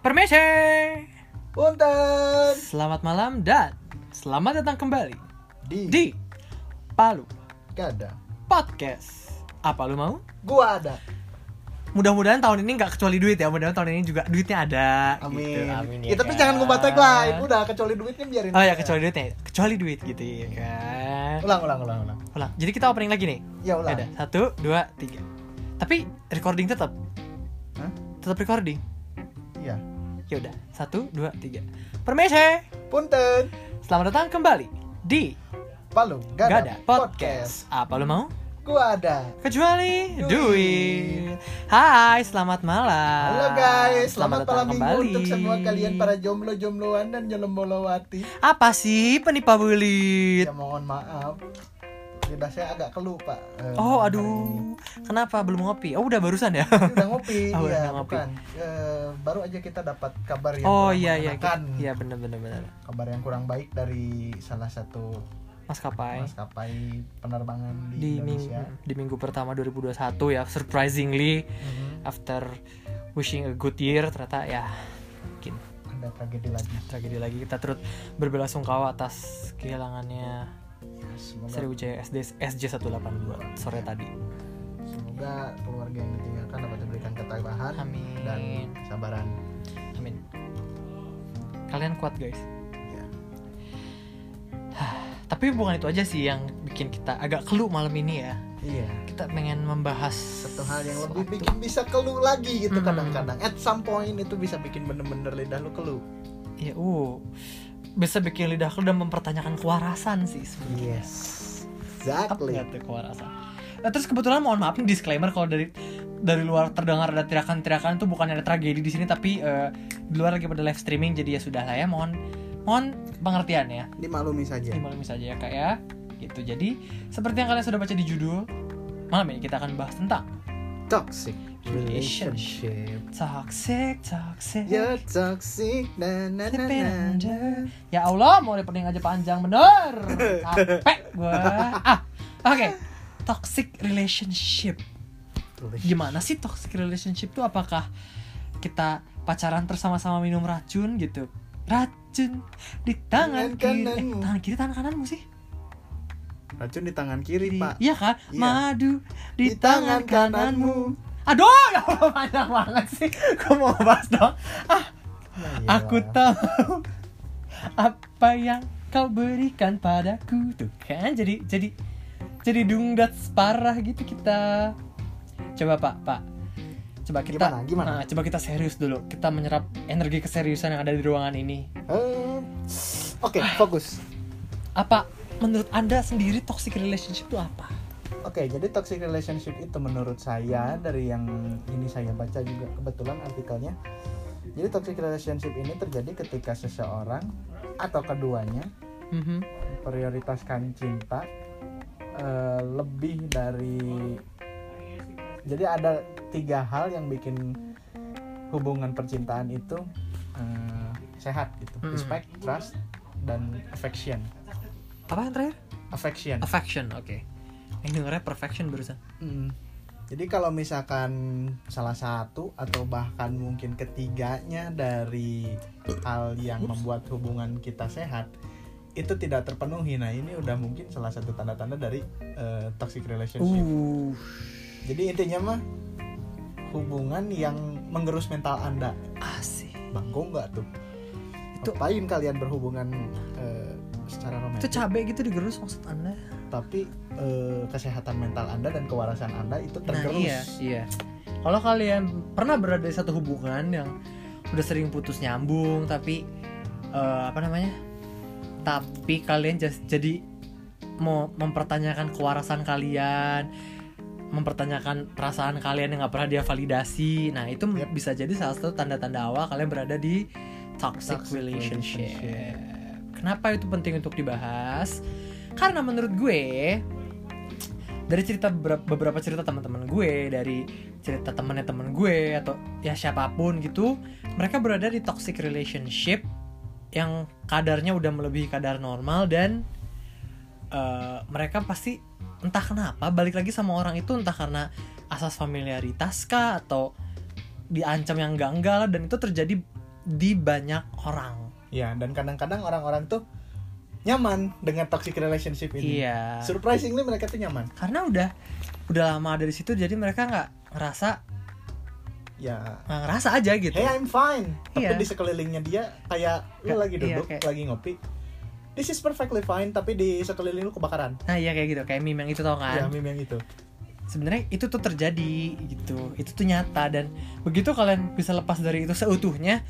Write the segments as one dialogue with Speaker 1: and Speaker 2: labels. Speaker 1: Permisi.
Speaker 2: Punten
Speaker 1: Selamat malam dan selamat datang kembali
Speaker 2: di,
Speaker 1: di Palu
Speaker 2: Gada.
Speaker 1: Podcast. Apa lu mau?
Speaker 2: Gua ada.
Speaker 1: Mudah-mudahan tahun ini nggak kecuali duit ya. Mudah-mudahan tahun ini juga duitnya ada.
Speaker 2: Amin.
Speaker 1: Gitu. Amin
Speaker 2: ya tapi jangan
Speaker 1: kan?
Speaker 2: gua tagline. Udah kecuali duitnya biarin.
Speaker 1: Oh ya
Speaker 2: aja.
Speaker 1: kecuali duitnya, kecuali duit gitu ya kan.
Speaker 2: Ulang ulang ulang ulang.
Speaker 1: Ulang. Jadi kita opening lagi nih.
Speaker 2: Ya ulang.
Speaker 1: Ada satu, dua, tiga. Tapi recording tetap,
Speaker 2: Hah?
Speaker 1: tetap recording.
Speaker 2: Iya.
Speaker 1: Ya udah. Satu, dua, tiga. Permisi.
Speaker 2: Punten
Speaker 1: Selamat datang kembali di
Speaker 2: Palu Gada,
Speaker 1: Gada Podcast. Apa lu mau?
Speaker 2: Gua ada.
Speaker 1: Kecuali
Speaker 2: Duit.
Speaker 1: duit. Hai, selamat malam.
Speaker 2: Halo guys, selamat,
Speaker 1: Ah, datang
Speaker 2: malam minggu untuk semua kalian para jomblo-jombloan dan nyelombolowati.
Speaker 1: Apa sih penipu bulit?
Speaker 2: Ya mohon maaf. Lidah saya agak kelupa. eh,
Speaker 1: Oh,
Speaker 2: hari ini.
Speaker 1: aduh. Kenapa belum ngopi? Oh, udah barusan ya.
Speaker 2: Ini udah ngopi
Speaker 1: Oh, udah
Speaker 2: ya
Speaker 1: ngopi.
Speaker 2: bukan Eh, baru aja kita dapat kabar yang
Speaker 1: Oh
Speaker 2: kurang
Speaker 1: iya iya.
Speaker 2: mengenakan.
Speaker 1: Iya bener bener bener.
Speaker 2: kabar yang kurang baik dari salah satu
Speaker 1: Maskapai
Speaker 2: maskapai penerbangan
Speaker 1: di
Speaker 2: di,
Speaker 1: minggu
Speaker 2: Indonesia
Speaker 1: di minggu pertama 2021 ya surprisingly
Speaker 2: Mhm.
Speaker 1: after wishing a good year ternyata ya mungkin
Speaker 2: ada tragedi lagi
Speaker 1: tragedi lagi kita turut berbelasungkawa atas kehilangannya
Speaker 2: Ya, semoga
Speaker 1: Sriwijaya SD SJ182 sore tadi.
Speaker 2: semoga keluarga yang ditinggalkan dapat diberikan ketabahan
Speaker 1: Amin.
Speaker 2: dan kesabaran
Speaker 1: Amin. Kalian kuat guys.
Speaker 2: Ya.
Speaker 1: Tapi bukan itu aja sih yang bikin kita agak keluh malam ini ya.
Speaker 2: iya
Speaker 1: Kita pengen membahas
Speaker 2: satu hal yang lebih
Speaker 1: suatu-
Speaker 2: bikin bisa keluh lagi gitu
Speaker 1: Mhm.
Speaker 2: kadang-kadang at some point itu bisa bikin bener-bener lidah lu keluh
Speaker 1: ya uh bisa bikin lidah lu udah mempertanyakan kewarasan sih sebenarnya.
Speaker 2: yes ya?
Speaker 1: Apa
Speaker 2: exactly
Speaker 1: nggak tuh kewarasan? Nah, terus kebetulan mohon maaf nih disclaimer kalau dari dari luar terdengar ada teriakan-teriakan itu bukan ada tragedi di sini tapi eh, di luar lagi pada live streaming jadi ya sudah lah ya mohon mohon pengertian ya
Speaker 2: dimaklumi saja
Speaker 1: dimaklumi saja ya kak ya gitu jadi seperti yang kalian sudah baca di judul malam ini kita akan bahas tentang
Speaker 2: toxic
Speaker 1: Relationship.
Speaker 2: relationship
Speaker 1: toxic toxic
Speaker 2: you're Ya, toxic na na na
Speaker 1: Sleeping
Speaker 2: na, na.
Speaker 1: under. Ya Allah, mau repening aja panjang bener. Capek gue. Ah, oke. Toxic relationship. Gimana sih toxic relationship tuh? Apakah kita pacaran terus sama-sama minum racun gitu? Racun di tangan
Speaker 2: Tangan
Speaker 1: kiri. Eh,
Speaker 2: kananmu.
Speaker 1: tangan kiri tangan kananmu sih?
Speaker 2: racun di tangan kiri
Speaker 1: Di-
Speaker 2: pak
Speaker 1: Iya kan?
Speaker 2: Iya.
Speaker 1: Madu di,
Speaker 2: Di
Speaker 1: tangan,
Speaker 2: tangan
Speaker 1: kananmu. Aduh, ya Allah panjang banget sih. Gue mau bahas dong. Ah,
Speaker 2: Iya.
Speaker 1: Aku tahu apa yang kau berikan padaku tuh kan jadi jadi jadi dungdat parah gitu kita coba pak pak coba kita
Speaker 2: Gimana, gimana?
Speaker 1: Ah, coba kita serius dulu kita menyerap energi keseriusan yang ada di ruangan ini
Speaker 2: Eh, Oke, fokus.
Speaker 1: apa menurut anda sendiri toxic relationship itu apa
Speaker 2: Oke, jadi toxic relationship itu menurut saya dari yang ini saya baca juga kebetulan artikelnya. Jadi toxic relationship ini terjadi ketika seseorang atau keduanya Mm-hmm.
Speaker 1: Mhm.
Speaker 2: prioritaskan cinta eh, lebih dari jadi ada tiga hal yang bikin hubungan percintaan itu eh, sehat gitu
Speaker 1: Mm.
Speaker 2: respect trust dan affection
Speaker 1: apa yang terakhir
Speaker 2: affection
Speaker 1: affection oke yang dengarnya perfection barusan
Speaker 2: Mm. Jadi kalau misalkan salah satu atau bahkan mungkin ketiganya dari hal yang membuat hubungan kita sehat itu tidak terpenuhi. Nah, ini udah mungkin salah satu tanda-tanda dari eh, toxic relationship.
Speaker 1: uh
Speaker 2: Jadi intinya mah hubungan yang menggerus mental Anda.
Speaker 1: asik
Speaker 2: Bangkong nggak tuh?
Speaker 1: Itu-
Speaker 2: Itu paling kalian berhubungan eh, secara
Speaker 1: itu
Speaker 2: romantis,
Speaker 1: cabe gitu digerus maksud anda
Speaker 2: tapi eh, kesehatan mental Anda dan kewarasan Anda itu
Speaker 1: Nah,
Speaker 2: tergerus.
Speaker 1: iya, iya. Kalau kalian pernah berada di satu hubungan yang udah sering putus nyambung tapi eh, apa namanya? Tapi kalian jas- jadi mau mempertanyakan kewarasan kalian, mempertanyakan perasaan kalian yang nggak pernah dia validasi. Nah, itu
Speaker 2: Yep.
Speaker 1: bisa jadi salah satu tanda-tanda awal kalian berada di toxic,
Speaker 2: Toxic
Speaker 1: relationship.
Speaker 2: relationship.
Speaker 1: Kenapa itu penting untuk dibahas? Karena menurut gue dari cerita beberapa, beberapa cerita teman-teman gue dari cerita temannya teman gue atau ya siapapun gitu mereka berada di toxic relationship yang kadarnya udah melebihi kadar normal dan eh, mereka pasti entah kenapa balik lagi sama orang itu entah karena asas familiaritas kah atau diancam yang enggak enggak lah dan itu terjadi di banyak orang.
Speaker 2: Ya, dan kadang-kadang orang-orang tuh nyaman dengan toxic relationship ini.
Speaker 1: Iya.
Speaker 2: Surprisingly mereka tuh nyaman.
Speaker 1: Karena udah udah lama dari situ jadi mereka nggak ngerasa
Speaker 2: Ya.
Speaker 1: nggak ngerasa aja gitu.
Speaker 2: Hey, I'm fine. Tapi
Speaker 1: Iya.
Speaker 2: di sekelilingnya dia kayak lu
Speaker 1: Nggak-
Speaker 2: lagi
Speaker 1: iya,
Speaker 2: duduk,
Speaker 1: kayak-
Speaker 2: lagi ngopi. This is perfectly fine, tapi di sekeliling lu kebakaran.
Speaker 1: Nah iya kayak gitu kayak meme yang itu tau
Speaker 2: Ya,
Speaker 1: kan.
Speaker 2: meme yang itu.
Speaker 1: Sebenarnya itu tuh terjadi gitu. Itu tuh nyata dan begitu kalian bisa lepas dari itu seutuhnya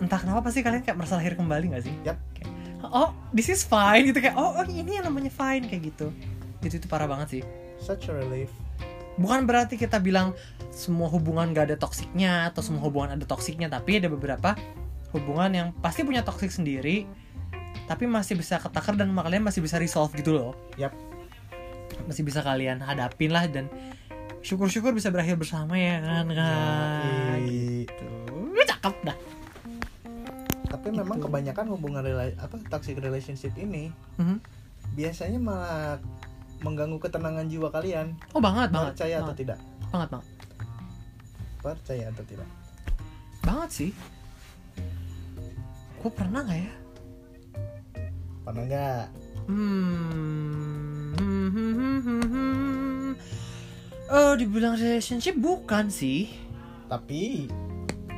Speaker 1: entah kenapa pasti kalian kayak merasa lahir kembali nggak sih?
Speaker 2: Yap.
Speaker 1: Kayak, oh this is fine gitu kayak oh, oh ini yang namanya fine kayak gitu. Itu itu parah banget sih.
Speaker 2: Such a relief.
Speaker 1: bukan berarti kita bilang semua hubungan gak ada toksiknya atau semua hubungan ada toksiknya tapi ada beberapa hubungan yang pasti punya toksik sendiri tapi masih bisa ketakar dan kalian masih bisa resolve gitu loh
Speaker 2: Yap.
Speaker 1: masih bisa kalian hadapin lah dan syukur-syukur bisa berakhir bersama ya kan kan
Speaker 2: Yoi.
Speaker 1: gitu Wih, cakep dah
Speaker 2: Tapi memang
Speaker 1: Gitu.
Speaker 2: kebanyakan hubungan rela- apa toxic relationship ini
Speaker 1: Mhm.
Speaker 2: biasanya malah mengganggu ketenangan jiwa kalian.
Speaker 1: oh banget banget
Speaker 2: percaya atau
Speaker 1: banget,
Speaker 2: tidak?
Speaker 1: banget banget
Speaker 2: Percaya atau tidak?
Speaker 1: banget sih gue pernah gak ya
Speaker 2: Pernah nggak?
Speaker 1: Hmm. Oh, dibilang relationship bukan sih,
Speaker 2: Tapi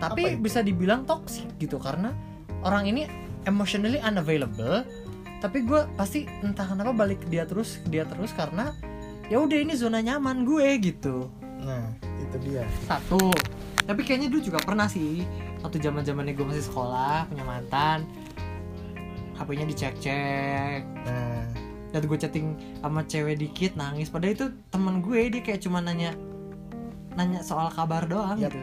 Speaker 2: Apa
Speaker 1: tapi
Speaker 2: itu?
Speaker 1: bisa dibilang toxic gitu karena orang ini emotionally unavailable. Tapi gue pasti entah kenapa balik ke dia terus, ke dia terus karena ya udah ini zona nyaman gue gitu.
Speaker 2: Nah, itu dia.
Speaker 1: Satu. Tapi kayaknya dulu juga pernah sih waktu zaman zamannya gue masih sekolah punya mantan, HP-nya dicek-cek,
Speaker 2: Nah,
Speaker 1: dan gue chatting sama cewek dikit nangis padahal itu teman gue dia kayak cuma nanya nanya soal kabar doang
Speaker 2: Yap.
Speaker 1: gitu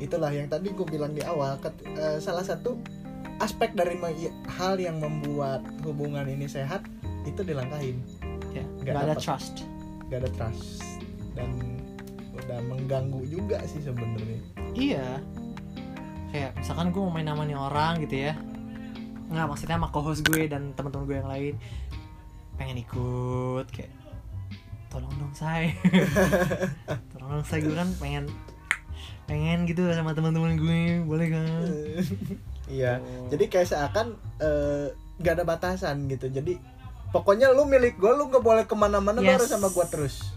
Speaker 2: itulah yang tadi gue bilang di awal. ket- eh, salah satu aspek dari me- ya, hal yang membuat hubungan ini sehat itu dilangkahin.
Speaker 1: ya
Speaker 2: Nggak
Speaker 1: nggak ada
Speaker 2: dapet.
Speaker 1: trust
Speaker 2: Gak ada trust dan udah mengganggu juga sih sebenarnya.
Speaker 1: iya kayak misalkan gue mau main sama nih orang gitu ya nggak maksudnya sama co-host gue dan teman-teman gue yang lain pengen ikut kayak tolong dong say tolong dong say gue kan pengen pengen gitu sama teman-teman gue boleh kan
Speaker 2: Iya. Jadi kayak seakan eh, nggak ada batasan gitu. Jadi pokoknya lu milik gue, lu nggak boleh kemana-mana, lu
Speaker 1: Yes.
Speaker 2: harus sama gue terus.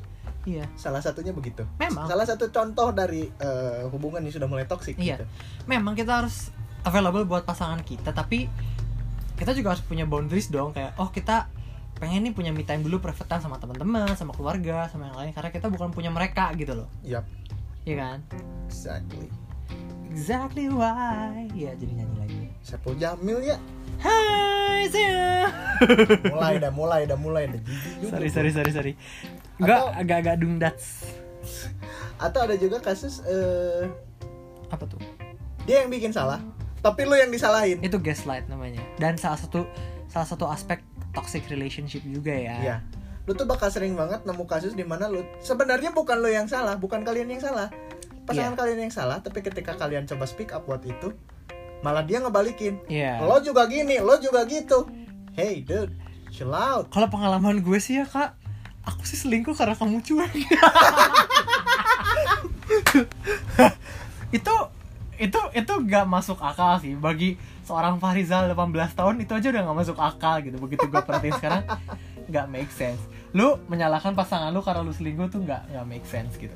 Speaker 1: iya
Speaker 2: Salah satunya begitu.
Speaker 1: memang
Speaker 2: Salah satu contoh dari eh, hubungan yang sudah mulai toksik
Speaker 1: Iya.
Speaker 2: gitu.
Speaker 1: memang kita harus available buat pasangan kita tapi kita juga harus punya boundaries dong kayak oh kita pengen nih punya me time dulu private time sama teman-teman sama keluarga sama yang lain karena kita bukan punya mereka gitu loh
Speaker 2: Yap,
Speaker 1: Iya kan
Speaker 2: exactly.
Speaker 1: exactly why ya jadi nyanyi lagi
Speaker 2: Saipul Jamil ya.
Speaker 1: Hai saya
Speaker 2: Mulai dah, mulai dah, mulai dah. Jijik juga
Speaker 1: sorry
Speaker 2: gua.
Speaker 1: sorry sorry sorry
Speaker 2: Atau-
Speaker 1: Enggak, agak-agak dungdats
Speaker 2: Atau ada juga kasus eh,
Speaker 1: Apa tuh?
Speaker 2: dia yang bikin salah, tapi lu yang disalahin.
Speaker 1: Itu gaslight namanya Dan salah satu salah satu aspek toxic relationship juga ya
Speaker 2: Iya. Lu tuh bakal sering banget nemu kasus di mana lu sebenarnya bukan lu yang salah, bukan kalian yang salah. Pasangan
Speaker 1: Iya.
Speaker 2: kalian yang salah, tapi ketika kalian coba speak up buat itu, malah dia ngebalikin.
Speaker 1: Iya.
Speaker 2: Lo juga gini, lo juga gitu. Hey dude, chill out.
Speaker 1: Kalau pengalaman gue sih ya kak Aku sih selingkuh karena kamu cuek Itu itu itu gak masuk akal sih bagi seorang Fahrizal 18 tahun itu aja udah gak masuk akal gitu begitu gue perhatiin sekarang gak make sense lu menyalahkan pasangan lu karena lu selingkuh tuh gak nggak make sense gitu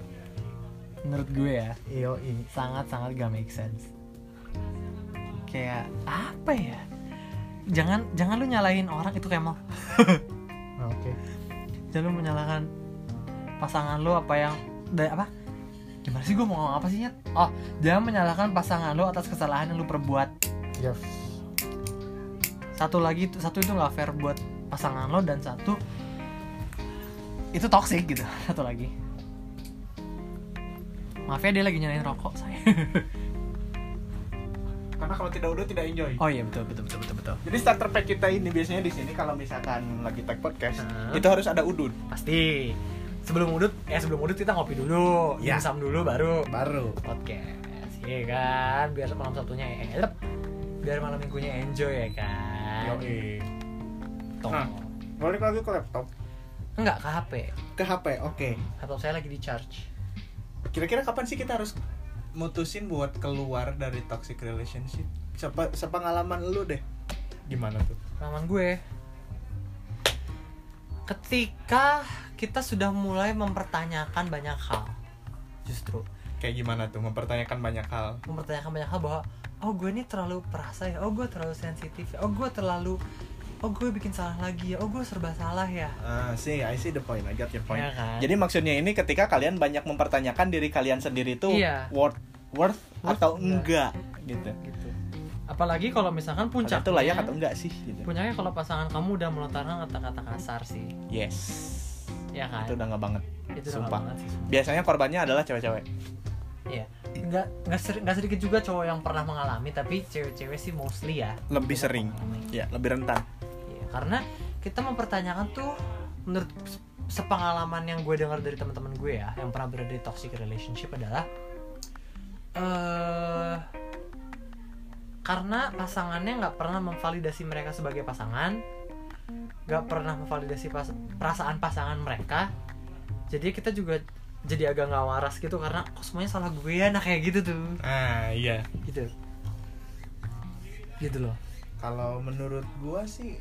Speaker 1: menurut gue ya
Speaker 2: Yoi.
Speaker 1: sangat sangat gak make sense kayak apa ya jangan jangan lu nyalahin orang itu kayak mau
Speaker 2: Oke.
Speaker 1: dan lu menyalahkan pasangan lu apa yang dari apa gimana sih gue mau ngomong apa sih Nyet? oh jangan menyalahkan pasangan lu atas kesalahan yang lu perbuat
Speaker 2: Yes.
Speaker 1: satu lagi itu satu itu nggak fair buat pasangan lo dan satu itu toxic gitu satu lagi maaf ya dia lagi nyalain rokok saya
Speaker 2: Karena kalau tidak udah tidak enjoy.
Speaker 1: oh iya betul betul betul betul betul
Speaker 2: Jadi starter pack kita ini biasanya di sini kalau misalkan lagi tag podcast,
Speaker 1: Hah?
Speaker 2: itu harus ada udun.
Speaker 1: pasti sebelum udut ya sebelum udut kita ngopi dulu
Speaker 2: Ya.
Speaker 1: dimsum dulu baru
Speaker 2: Baru.
Speaker 1: podcast ya kan biar malam satunya elep biar malam minggunya enjoy ya
Speaker 2: Iya,
Speaker 1: kan Tong.
Speaker 2: Nah. Balik lagi ke laptop.
Speaker 1: enggak ke HP
Speaker 2: Ke HP, oke.
Speaker 1: laptop saya lagi di charge
Speaker 2: Kira-kira kapan sih kita harus mutusin buat keluar dari toxic relationship? Sepa, sepengalaman lu deh. Gimana tuh?
Speaker 1: pengalaman gue ketika kita sudah mulai mempertanyakan banyak hal justru
Speaker 2: Kayak gimana tuh mempertanyakan banyak hal.
Speaker 1: mempertanyakan banyak hal bahwa oh gue ini terlalu perasa ya oh gue terlalu sensitif ya oh gue terlalu oh gue bikin salah lagi ya oh gue serba salah ya
Speaker 2: Ah, see, I see the point. I got your point.
Speaker 1: Iya kan?
Speaker 2: Jadi maksudnya ini ketika kalian banyak mempertanyakan diri kalian sendiri tuh
Speaker 1: Iya.
Speaker 2: worth worth
Speaker 1: Worth
Speaker 2: atau enggak
Speaker 1: enggak.
Speaker 2: gitu.
Speaker 1: gitu apalagi kalau misalkan
Speaker 2: Kalian
Speaker 1: puncak
Speaker 2: tuh layak atau enggak sih gitu.
Speaker 1: puncaknya kalau pasangan kamu udah melontarkan kata-kata kasar sih
Speaker 2: Yes.
Speaker 1: ya kan
Speaker 2: Itu udah enggak banget.
Speaker 1: itu udah
Speaker 2: sumpah.
Speaker 1: banget sih sumpah.
Speaker 2: Biasanya korbannya adalah cewek-cewek.
Speaker 1: Iya. nggak nggak seri- nggak sedikit juga cowok yang pernah mengalami tapi cewek-cewek sih mostly ya
Speaker 2: Lebih
Speaker 1: Banyak
Speaker 2: sering.
Speaker 1: mengalami.
Speaker 2: Ya, lebih rentan.
Speaker 1: Iya, karena kita mempertanyakan tuh menurut se- sepengalaman yang gue dengar dari teman-teman gue ya yang pernah berada di toxic relationship adalah eh karena pasangannya nggak pernah memvalidasi mereka sebagai pasangan nggak pernah memvalidasi pas- perasaan pasangan mereka jadi kita juga jadi agak nggak waras gitu karena kok semuanya salah gue ya nah kayak gitu tuh
Speaker 2: Ah, iya.
Speaker 1: gitu gitu loh
Speaker 2: Kalau menurut gua sih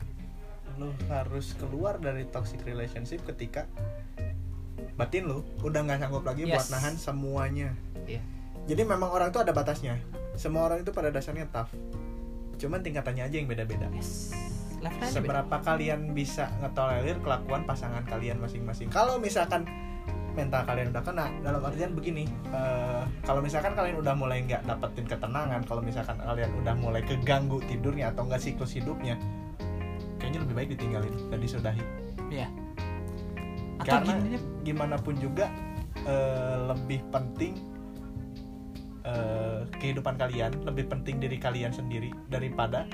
Speaker 2: lu harus keluar dari toxic relationship ketika batin lu udah nggak sanggup lagi buat
Speaker 1: Yes.
Speaker 2: nahan semuanya.
Speaker 1: Iya.
Speaker 2: Jadi memang orang tuh ada batasnya. Semua orang itu pada dasarnya tough. Cuman tingkatannya aja yang beda-beda.
Speaker 1: yes left
Speaker 2: Kan
Speaker 1: hand beda.
Speaker 2: Seberapa kalian bisa ngetolerir kelakuan pasangan kalian masing-masing. Kalau misalkan mental kalian udah kena, dalam artian begini, eh, kalau misalkan kalian udah mulai nggak dapetin ketenangan, kalau misalkan kalian udah mulai keganggu tidurnya atau nggak siklus hidupnya, kayaknya lebih baik ditinggalin dan disudahi.
Speaker 1: Iya. atau
Speaker 2: Karena-
Speaker 1: gini deh,
Speaker 2: gimana pun juga eh, lebih penting eh, kehidupan kalian lebih penting diri kalian sendiri daripada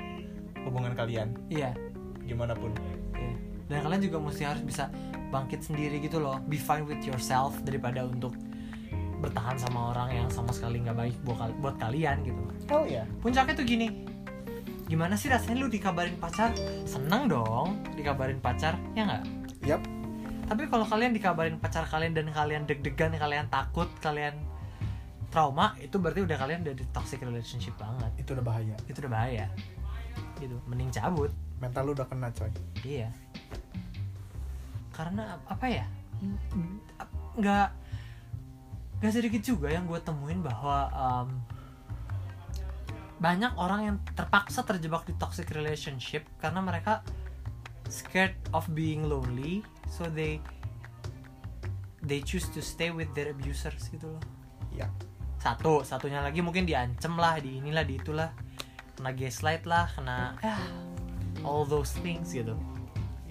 Speaker 2: hubungan kalian
Speaker 1: iya
Speaker 2: gimana pun
Speaker 1: Iya. Dan kalian juga mesti harus bisa bangkit sendiri gitu loh. Be fine with yourself daripada untuk bertahan sama orang yang sama sekali nggak baik buat kal- buat kalian gitu.
Speaker 2: oh ya
Speaker 1: Puncaknya tuh gini. Gimana sih rasanya lu dikabarin pacar? Seneng dong dikabarin pacar, ya nggak?
Speaker 2: yap
Speaker 1: Tapi kalau kalian dikabarin pacar kalian dan kalian deg-degan, kalian takut, kalian trauma, itu berarti udah kalian udah di toxic relationship banget.
Speaker 2: itu udah bahaya
Speaker 1: Itu udah bahaya. Gitu, mending cabut.
Speaker 2: mental lu udah kena coy
Speaker 1: Iya. Karena ap- apa ya? Ap- Nggak nggak sedikit juga yang gue temuin bahwa em, banyak orang yang terpaksa terjebak di toxic relationship karena mereka scared of being lonely, so they they choose to stay with their abusers gitu loh.
Speaker 2: Iya.
Speaker 1: Satu, satunya lagi mungkin diancem lah, di inilah, di itulah, kena gaslight lah, kena ya all those things gitu.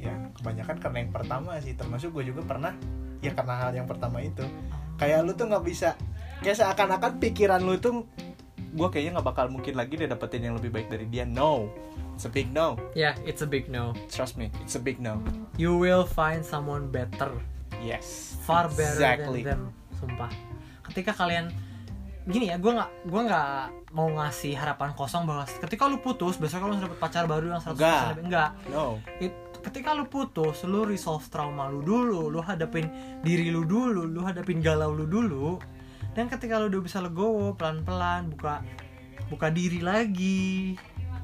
Speaker 2: ya kebanyakan karena yang pertama sih termasuk gue juga pernah ya karena hal yang pertama itu kayak lu tuh nggak bisa kayak seakan-akan pikiran lu tuh gue kayaknya nggak bakal mungkin lagi dia dapetin yang lebih baik dari dia no it's a big no
Speaker 1: Yeah, Ya, it's a big no.
Speaker 2: trust me it's a big no
Speaker 1: You will find someone better,
Speaker 2: Yes.
Speaker 1: far better
Speaker 2: exactly.
Speaker 1: than them. Sumpah. Ketika kalian gini ya, gue nggak gua nggak mau ngasih harapan kosong bahwa ketika lu putus besok lu harus dapet pacar baru yang 100%
Speaker 2: Nggak.
Speaker 1: lebih enggak.
Speaker 2: No.
Speaker 1: It- ketika lu putus, lu resolve trauma lu dulu, lu hadapin diri lu dulu, lu hadapin galau lu dulu. Dan ketika lu udah bisa legowo, pelan-pelan buka buka diri lagi,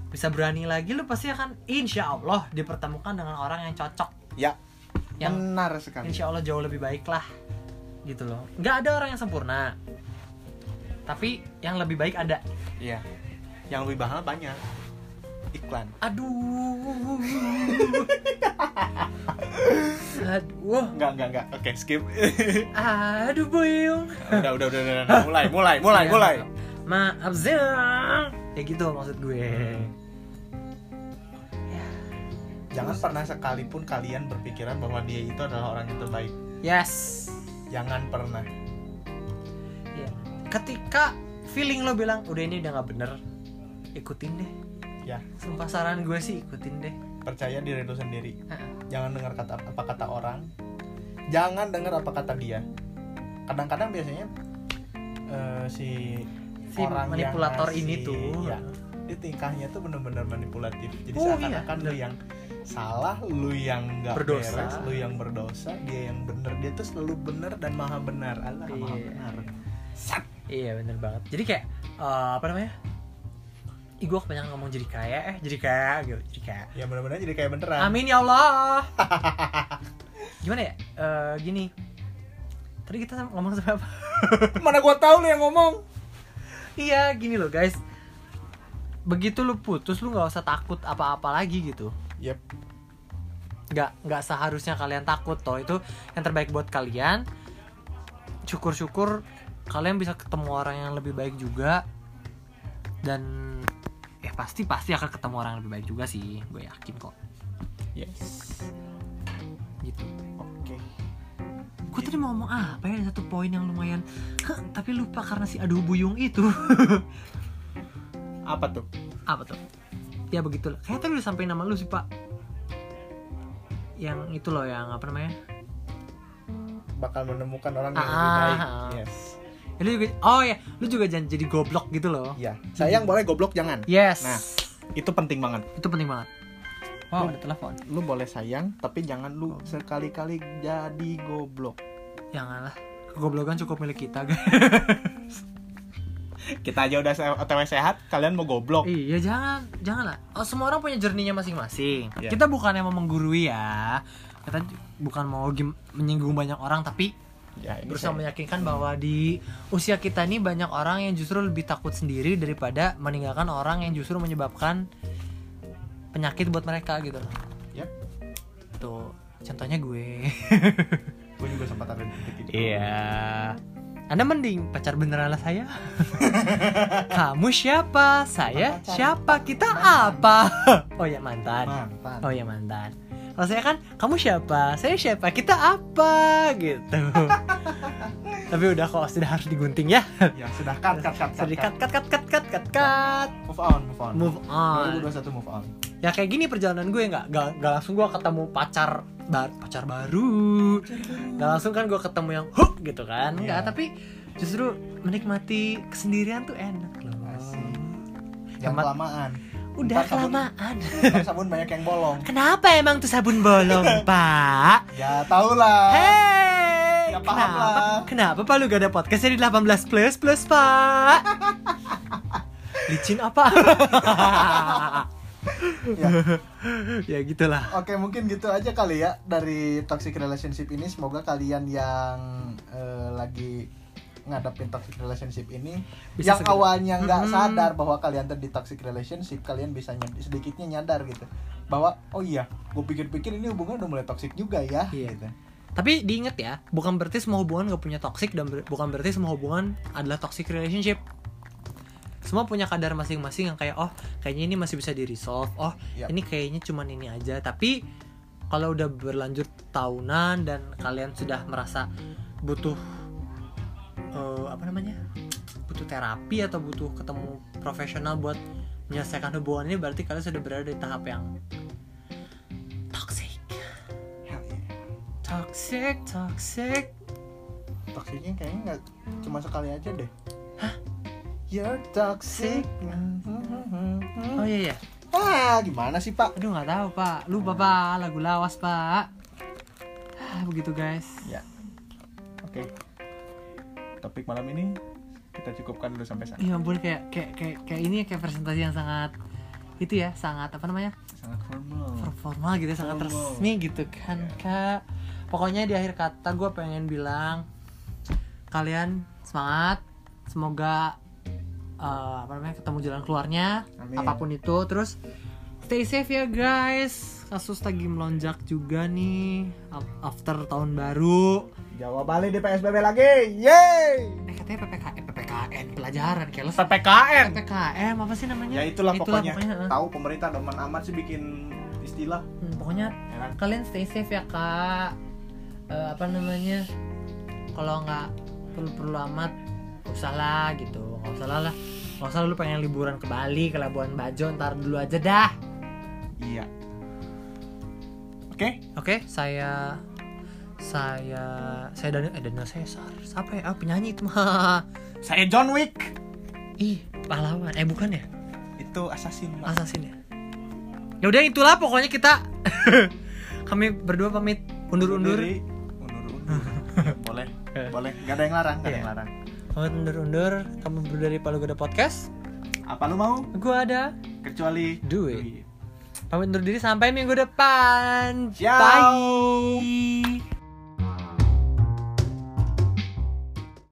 Speaker 1: bisa berani lagi, lu pasti akan insya Allah dipertemukan dengan orang yang cocok.
Speaker 2: Ya.
Speaker 1: Yang-
Speaker 2: Benar sekali.
Speaker 1: Insya Allah jauh lebih baik lah, gitu loh. Nggak ada orang yang sempurna, tapi yang lebih baik ada.
Speaker 2: Iya. Yang lebih mahal banyak. Iklan.
Speaker 1: Aduh, aduh.
Speaker 2: Enggak, enggak, enggak. Oke, skip.
Speaker 1: Aduh Buyung
Speaker 2: udah, udah, udah, udah, udah. Mulai, mulai, mulai,
Speaker 1: Ya,
Speaker 2: mulai.
Speaker 1: Maaf Zeng Ya gitu maksud gue
Speaker 2: Ya. Jangan pernah sekalipun kalian berpikiran bahwa dia itu adalah orang yang terbaik.
Speaker 1: Yes
Speaker 2: Jangan pernah.
Speaker 1: Ya. Ketika feeling lo bilang Udah ini udah gak bener Ikutin deh
Speaker 2: Ya.
Speaker 1: Sumpah saran gue sih ikutin deh
Speaker 2: Percaya diri lu sendiri.
Speaker 1: Heeh.
Speaker 2: Jangan dengar kata apa kata orang. Jangan dengar apa kata dia. Kadang-kadang biasanya eh, si
Speaker 1: Si
Speaker 2: Orang yang
Speaker 1: manipulator
Speaker 2: ngasih-
Speaker 1: ini tuh
Speaker 2: ya. dia tingkahnya tuh bener-bener manipulatif jadi
Speaker 1: Oh,
Speaker 2: seakan-akan
Speaker 1: iya.
Speaker 2: lu yang salah lu yang nggak
Speaker 1: Berdosa.
Speaker 2: beres lu yang berdosa dia yang bener dia tuh selalu bener dan maha benar Allah maha
Speaker 1: Iya.
Speaker 2: benar Sat.
Speaker 1: Iya bener banget. Jadi kayak eh, apa namanya? Ih gue kebanyakan ngomong jadi kaya eh jadi kaya gitu jadi kaya.
Speaker 2: ya mudah-mudahan jadi kayak beneran
Speaker 1: Amin ya Allah. Gimana ya? Eh, gini. Tadi kita sama- ngomong sama apa?
Speaker 2: mana gua tahu lu yang ngomong
Speaker 1: iya gini loh guys. Begitu lu putus lu nggak usah takut apa-apa lagi gitu.
Speaker 2: yep
Speaker 1: nggak nggak seharusnya kalian takut toh itu yang terbaik buat kalian syukur-syukur kalian bisa ketemu orang yang lebih baik juga dan ya pasti pasti akan ketemu orang yang lebih baik juga sih gue yakin kok
Speaker 2: yes
Speaker 1: gitu
Speaker 2: oke
Speaker 1: gue tadi mau ngomong apa ya Ada satu poin yang lumayan Hah, tapi lupa karena si aduh buyung itu
Speaker 2: apa tuh
Speaker 1: apa tuh ya begitulah kayak tadi udah sampai nama lu sih pak yang itu loh yang apa namanya
Speaker 2: bakal menemukan orang yang lebih
Speaker 1: Ah.
Speaker 2: baik yes
Speaker 1: Ya, lu juga oh ya lu juga jangan jadi goblok gitu loh
Speaker 2: ya sayang boleh goblok jangan
Speaker 1: yes
Speaker 2: Nah. itu penting banget
Speaker 1: itu penting banget wow ada telepon
Speaker 2: lu boleh sayang tapi jangan lu sekali-kali jadi goblok
Speaker 1: janganlah kegoblokan cukup milik kita guys
Speaker 2: kita aja udah se- otw sehat kalian mau goblok
Speaker 1: iya jangan janganlah oh, semua orang punya jerninya masing-masing
Speaker 2: Iya.
Speaker 1: kita bukannya mau menggurui ya kita ju- bukan mau gim- menyinggung banyak orang tapi
Speaker 2: ya ini
Speaker 1: berusaha
Speaker 2: saya-
Speaker 1: meyakinkan bahwa di usia kita ini banyak orang yang justru lebih takut sendiri daripada meninggalkan orang yang justru menyebabkan penyakit buat mereka gitu loh
Speaker 2: Yap.
Speaker 1: tuh contohnya gue
Speaker 2: gue juga sempat ada di titik itu
Speaker 1: Iya. Anda mending pacar beneran lah saya. Kamu siapa? Saya
Speaker 2: Mantan.
Speaker 1: siapa? Kita apa? Oh ya mantan.
Speaker 2: mantan
Speaker 1: Oh ya mantan. Kalau saya kan kamu siapa? Saya siapa? Kita apa? Gitu. Tapi udah kok sudah harus digunting ya.
Speaker 2: ya sudah cut cut cut cut,
Speaker 1: Sudah
Speaker 2: cut.
Speaker 1: cut cut cut cut cut cut cut.
Speaker 2: move on move on
Speaker 1: Move on.
Speaker 2: 2021 move on
Speaker 1: Ya kayak gini perjalanan gue nggak nggak nggak langsung gue ketemu pacar ba- pacar baru. Gak langsung kan gue ketemu yang hook gitu kan Enggak,
Speaker 2: Iya.
Speaker 1: tapi justru menikmati kesendirian tuh enak loh
Speaker 2: Asik.
Speaker 1: Oh.
Speaker 2: jangan
Speaker 1: Tempat-
Speaker 2: kelamaan
Speaker 1: Udah
Speaker 2: Ntar sabun-
Speaker 1: kelamaan
Speaker 2: Ntar sabun banyak yang bolong
Speaker 1: Kenapa emang tuh sabun bolong pak?
Speaker 2: ya tau lah
Speaker 1: Hei,
Speaker 2: Ya, paham
Speaker 1: kenapa,
Speaker 2: lah.
Speaker 1: kenapa Pak lu gak ada podcastnya di 18 plus plus pak? Licin apa?
Speaker 2: Ya.
Speaker 1: ya gitulah.
Speaker 2: Oke mungkin gitu aja kali ya dari toxic relationship ini semoga kalian yang eh, lagi ngadepin toxic relationship ini
Speaker 1: Bisa
Speaker 2: yang
Speaker 1: segera.
Speaker 2: awalnya nggak
Speaker 1: Mm-mm.
Speaker 2: sadar bahwa kalian tadi toxic relationship kalian bisa nyad- sedikitnya nyadar gitu bahwa oh iya gue pikir-pikir ini hubungan udah mulai toxic juga ya
Speaker 1: Iya.
Speaker 2: gitu
Speaker 1: Tapi diingat ya, bukan berarti semua hubungan gak punya toxic dan ber- bukan berarti semua hubungan adalah toxic relationship. Semua punya kadar masing-masing yang kayak oh, kayaknya ini masih bisa di resolve. Oh,
Speaker 2: Yap.
Speaker 1: ini kayaknya cuman ini aja. Tapi kalau udah berlanjut tahunan dan kalian sudah merasa butuh eh, apa namanya? butuh terapi atau butuh ketemu profesional buat menyelesaikan hubungan ini berarti kalian sudah berada di tahap yang toxic.
Speaker 2: Hell yeah.
Speaker 1: Toxic, toxic.
Speaker 2: toxicnya kayaknya nggak cuma sekali aja deh You're toxic
Speaker 1: Iya.
Speaker 2: Mm-hmm.
Speaker 1: Oh iya iya.
Speaker 2: ah gimana sih pak
Speaker 1: Aduh nggak tahu pak. Lupa pak. Lagu lawas pak. Ah, Begitu guys.
Speaker 2: Ya. Oke. Topik malam ini kita cukupkan dulu sampai sana.
Speaker 1: Ya ampun kayak kayak kayak kayak ini ya, kayak presentasi yang sangat itu ya sangat apa namanya
Speaker 2: Sangat formal.
Speaker 1: formal gitu ya, sangat
Speaker 2: Formal.
Speaker 1: resmi gitu kan kak. Pokoknya di akhir kata gue pengen bilang kalian semangat. Semoga eh, apa namanya ketemu jalan keluarnya
Speaker 2: Amin.
Speaker 1: apapun itu terus stay safe ya guys kasus lagi melonjak juga nih af- after tahun baru
Speaker 2: Jawa Bali di PSBB lagi. Yeay!
Speaker 1: eh katanya PPKN PPKN pelajaran kayak lu
Speaker 2: PPKM.
Speaker 1: PPKM apa sih namanya
Speaker 2: Ya itulah, pokoknya.
Speaker 1: pokoknya,
Speaker 2: Tahu pemerintah doman amat sih bikin istilah.
Speaker 1: Hmm, pokoknya
Speaker 2: Heran.
Speaker 1: kalian stay safe ya kak Eh, apa namanya kalau nggak perlu perlu amat nggak usah lah gitu nggak usah lah lah. nggak usah lu pengen liburan ke Bali ke Labuan Bajo ntar dulu aja dah
Speaker 2: Iya. Oke,
Speaker 1: Oke, saya saya saya Daniel eh Daniel Caesar. Siapa ya? Ah, penyanyi itu mah.
Speaker 2: saya John Wick.
Speaker 1: Ih, pahlawan. Eh bukan ya?
Speaker 2: Itu assassin. Mas.
Speaker 1: Assassin ya. Ya udah itulah pokoknya kita kami berdua pamit undur-undur.
Speaker 2: Eh. Undur-undur. Ya, boleh. Boleh. Gak ada yang larang, gak ada yang larang.
Speaker 1: Oke, pamit undur-undur kamu berdua dari Palu Gada Podcast
Speaker 2: Apa lu mau?
Speaker 1: gue ada
Speaker 2: Kecuali
Speaker 1: Duit. pamit undur diri sampai minggu depan
Speaker 2: Ciao.